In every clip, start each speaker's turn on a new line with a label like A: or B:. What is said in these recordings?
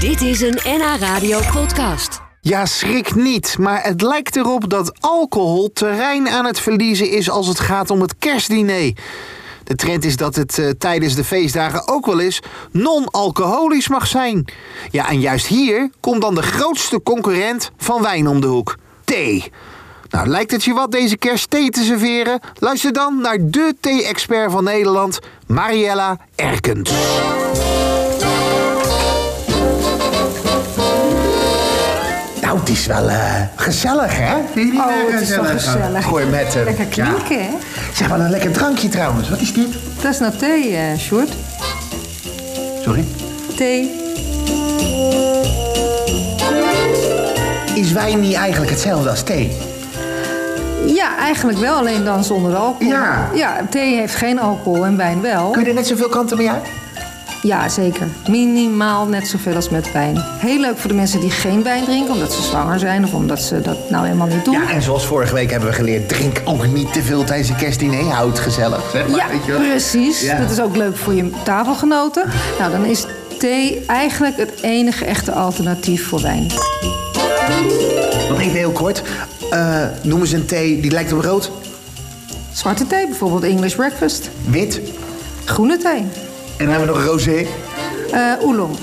A: Dit is een NH Radio podcast.
B: Ja, schrik niet, maar het lijkt erop dat alcohol terrein aan het verliezen is als het gaat om het kerstdiner. De trend is dat het eh, tijdens de feestdagen ook wel eens non-alcoholisch mag zijn. Ja, en juist hier komt dan de grootste concurrent van wijn om de hoek: thee. Nou, lijkt het je wat deze kerst thee te serveren? Luister dan naar de thee-expert van Nederland, Mariella Erkens.
C: Nou, het is wel eh, gezellig, hè?
D: Oh, het is wel gezellig.
C: nou Gooi met hem.
D: Lekker klinken, hè?
C: Zeg wel een lekker drankje trouwens. Wat is dit?
D: Dat is nou thee, eh Sjoerd.
C: Sorry?
D: Thee.
C: Is wijn niet eigenlijk hetzelfde als thee?
D: Ja, eigenlijk wel, alleen dan zonder alcohol.
C: Ja.
D: Ja, thee heeft geen alcohol en wijn wel.
C: Kun je er net zoveel kanten mee uit?
D: Ja, zeker. Minimaal net zoveel als met wijn. Heel leuk voor de mensen die geen wijn drinken, omdat ze zwanger zijn of omdat ze dat nou helemaal niet doen.
C: Ja, en zoals vorige week hebben we geleerd... drink ook niet te veel tijdens een kerstdiner. Houd het gezellig. Zeg maar,
D: Ja,
C: weet je wel.
D: precies.
C: Ja.
D: Dat is ook leuk voor je tafelgenoten. Nou, dan is thee eigenlijk het enige echte alternatief voor wijn.
C: Want even heel kort. eh, noem eens een thee die lijkt op rood,
D: Zwarte thee, bijvoorbeeld English breakfast.
C: wit...
D: Groene thee.
C: en dan hebben we nog rosé.
D: Eh oolong.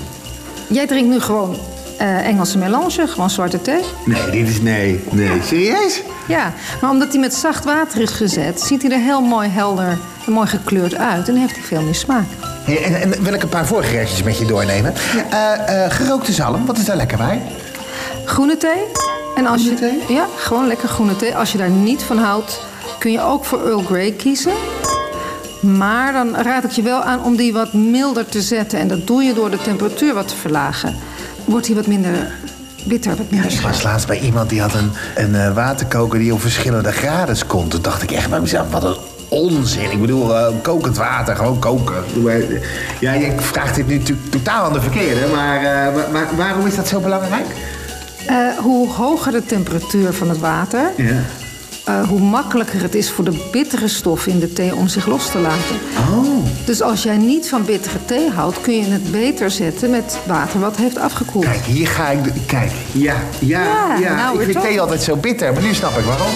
D: Jij drinkt nu gewoon eh, Engelse melange, gewoon zwarte thee.
C: Nee, dit is nee. Nee, serieus?
D: Ja, maar omdat die met zacht water is gezet, ziet hij er heel mooi helder en mooi gekleurd uit. En heeft hij veel meer smaak.
C: Hey, en, en wil ik een paar voorgerechtjes met je doornemen. Eh, eh, gerookte zalm, wat is daar lekker bij?
D: Groene thee. En als je,
C: Groene
D: Ja, gewoon lekker groene thee. Als je daar niet van houdt, kun je ook voor Earl Grey kiezen. Maar dan raad ik je wel aan om die wat milder te zetten. En dat doe je door de temperatuur wat te verlagen. Wordt hij wat minder bitter, wat minder
C: Ik
D: scherp.
C: was laatst bij iemand die had een, een eh, waterkoker die op verschillende graden kon. Toen dacht ik echt bij mezelf, wat een onzin. Ik bedoel, eh, kokend water, gewoon koken. Doe maar- Ja, ik vraag dit nu natuurlijk totaal aan de verkeerde, maar, eh, wa- wa- waarom is dat zo belangrijk?
D: Eh, hoe hoger de temperatuur van het water,
C: Ja.
D: eh, hoe makkelijker het is voor de bittere stof in de thee om zich los te laten.
C: Oh.
D: Dus als jij niet van bittere thee houdt, kun je het beter zetten met water wat heeft afgekoeld.
C: Kijk, hier ga ik... de- Kijk, ja, ja, ja.
D: Ja, nou,
C: ik
D: weer
C: vind
D: toch?
C: thee altijd zo bitter, maar nu snap ik waarom.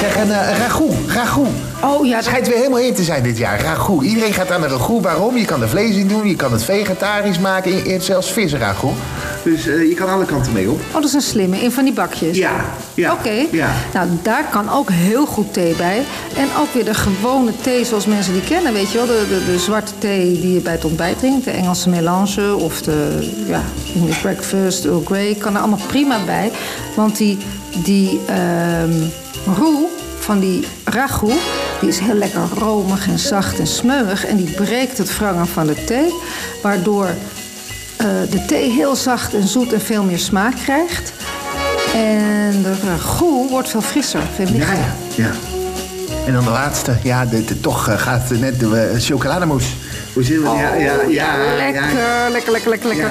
C: Zeg, een eh, ragout, ragout.
D: Oh ja,
C: Het schijnt weer helemaal in te zijn dit jaar. Ragout. Iedereen gaat aan de ragout. Waarom? Je kan er vlees in doen, je kan het vegetarisch maken, je eet zelfs visragout. Dus eh, je kan alle kanten mee op.
D: oh, dat is een slimme, in van die bakjes.
C: Ja, ja,
D: Oké,
C: ja.
D: nou daar kan ook heel goed thee bij. En ook weer de gewone thee zoals mensen die kennen, weet je wel. De, de, de zwarte thee die je bij het ontbijt drinkt, de Engelse melange of de ja, English breakfast, Earl Grey, kan er allemaal prima bij. Want die, die ehm, roe van die ragout, die is heel lekker romig en zacht en smeuig. En die breekt het wrangen van de thee, waardoor eh, de thee heel zacht en zoet en veel meer smaak krijgt. En de ragout wordt veel frisser, veel
C: Ja,
D: lichter.
C: ja, ja. En dan de laatste. Ja, de, de- toch eh, gaat het net de eh, chocolademousse. Hoe zit het? ja, ja,
D: lekker, lekker, lekker, lekker, lekker.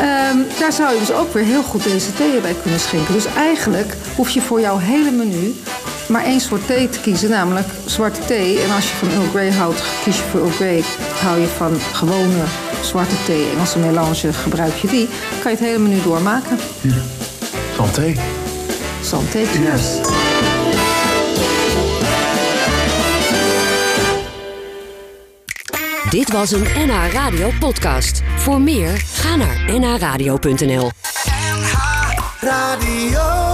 D: Ehm, daar zou je dus ook weer heel goed deze thee bij kunnen schenken. Dus eigenlijk hoef je voor jouw hele menu maar één soort thee te kiezen, namelijk zwarte thee. En als je van Earl Grey houdt, kies je voor Earl Grey. Hou je van gewone zwarte thee, Engelse melange, gebruik je die. Kan je het hele menu doormaken.
C: Santé.
D: Santé, cheers.
A: Dit was een NH Radio podcast. Voor meer, ga naar nhradio.nl.
E: Radio.